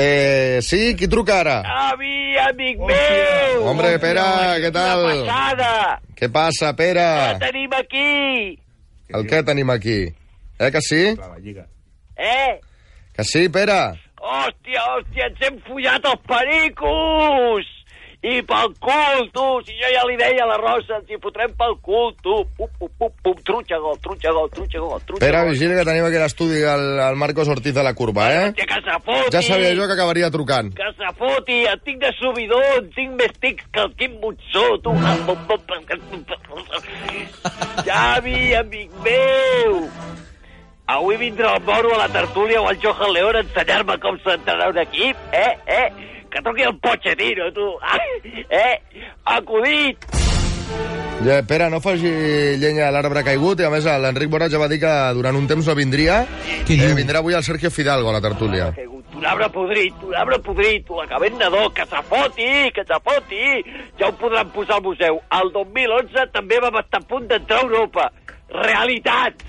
Eh, sí, qui truca ara? Avi, amic meu! Hombre, Pere, què tal? Ah. Una passada! Què passa, Pere? La tenim aquí! El què tenim aquí? Eh, que sí? Eh? Que sí, Pere? Hòstia, hòstia, ens hem follat els pericos! I pel cul, tu! Si jo ja li deia a la Rosa, ens hi fotrem pel cul, tu! Pum, pum, pum, pum, trutxa gol, trutxa gol, trutxa gol, trutxa Pere, gol. vigila que tenim aquí a l'estudi el, el Marcos Ortiz de la Curva, eh? Hòstia, que se foti! Ja sabia jo que acabaria trucant. Que se foti, et tinc de subidor, tinc més tics que el Quim Butxó, tu. Xavi, amic meu! Avui vindrà el Moro a la tertúlia o el Johan León a ensenyar-me com s'entrarà un equip, eh, eh? Que truqui el Pochettino, tu. Ah, eh? Acudit! Ja, Pere, no faci llenya a l'arbre caigut i, a més, l'Enric Borat ja va dir que durant un temps no vindria. Què Eh, diu? vindrà avui el Sergio Fidalgo a la tertúlia. Caigut. Un arbre podrit, un arbre podrit, un acabent nadó, que se foti, que se foti. Ja ho podran posar al museu. El 2011 també vam estar a punt d'entrar a Europa. Realitat!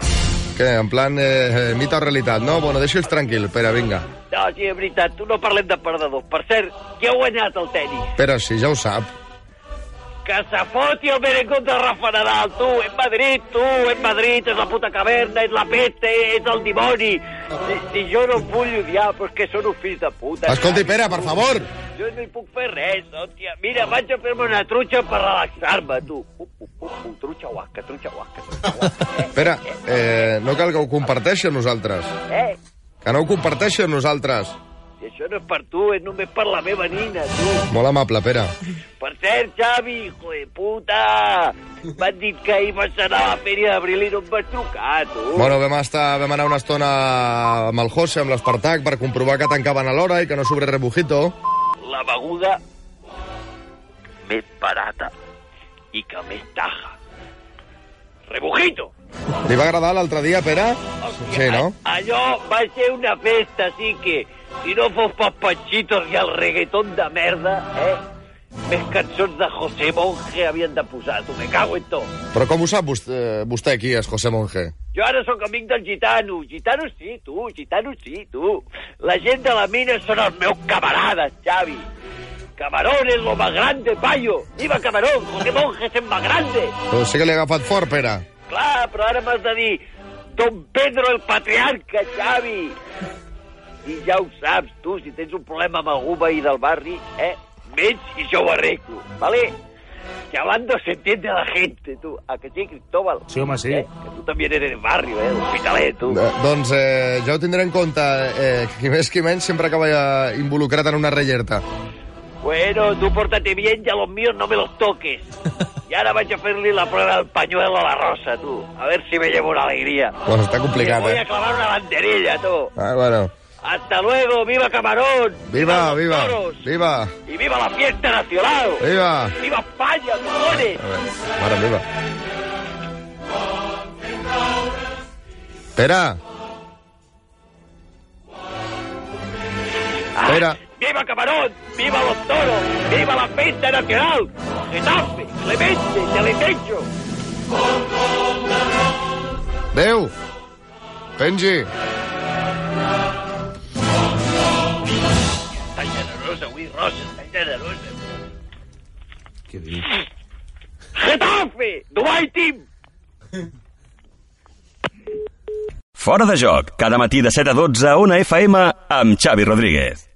Què, en plan eh, eh, mite o realitat, no? Bueno, deixi'ls tranquil, Pere, vinga. No, sí, és veritat, tu no parlem de perdedor. Per cert, qui ha guanyat el tenis? Pere, sí, ja ho sap. Que se foti el merengón de Rafa Nadal, tu! És Madrid, tu! És Madrid, és la puta caverna, és la peste, és el dimoni! Si, si jo no em vull odiar, però és que són un fill de puta. Escolti, Pere, per favor! Jo no hi puc fer res, hòstia. Mira, vaig a fer-me una trutxa per relaxar-me, tu. Pum, pum, pum, pum, trutxa guaca, trutxa guaca, trutxa guaca. Pere, eh, no cal que ho comparteixi amb nosaltres. Eh? Que no ho comparteixi amb nosaltres. Si això eh, no és per tu, és només per la meva nina, tu. Molt amable, Pere. Per cert, Xavi, hijo de puta, m'han dit que ahir vas anar a la fèria d'abril i no em vas trucar, tu. Bueno, vam, estar, vam anar una estona amb el José, amb l'Espartac, per comprovar que tancaven a l'hora i que no s'obre rebujito. La beguda més barata i que més taja. Rebujito! Li va agradar l'altre dia, Pere? Sí, no? Allò va ser una festa, així que, si no fos pels panxitos i el reggaeton de merda, eh, més cançons de José Monge havien de posar, tu, me cago en tot. Però com ho sap vostè, vostè qui és José Monge? Jo ara sóc amic del gitano. Gitano sí, tu, gitano sí, tu. La gent de la mina són els meus camarades, Xavi. Camarón es lo más grande, paio. Viva Camarón, José Monge es el más grande. Però sí que l'he agafat fort, Pere. Clar, però ara m'has de dir Don Pedro el patriarca, Xavi. I ja ho saps, tu, si tens un problema amb algú veí del barri, eh? Vens i jo ho arreglo, ¿vale? Que hablando se entiende la gente, tú. ¿A que sí, Cristóbal? Sí, home, sí. Eh, Que tú también eres del barrio, eh? Hospitalet, tú. Eh, doncs eh, ja ho tindré en compte. Eh, qui més qui menys sempre acaba eh, involucrat en una rellerta. Bueno, tú pórtate bien y a los míos no me los toques. Y ahora vaig a fer-li la prueba del pañuelo a la Rosa, tú. A ver si me llevo una alegría. Bueno, està complicat, Le voy a eh? clavar una banderilla, tú. Ah, bueno. Hasta luego, viva Camarón. Viva, los viva, Eh. toros. viva, Y viva la fiesta nacional. viva. Viva España, A cojones. veure, mare meva. Pere, Ah, Pere. Viva Camarón, viva los toros, viva la fiesta nacional. Getafe, Clemente, Teletecho. adeu. Pengi. Tan generosa, avui, Rosa, tan generosa. Què diu? Getafe, Dubai Team. Fora de joc, cada matí de 7 a 12 a 1 FM amb Xavi Rodríguez.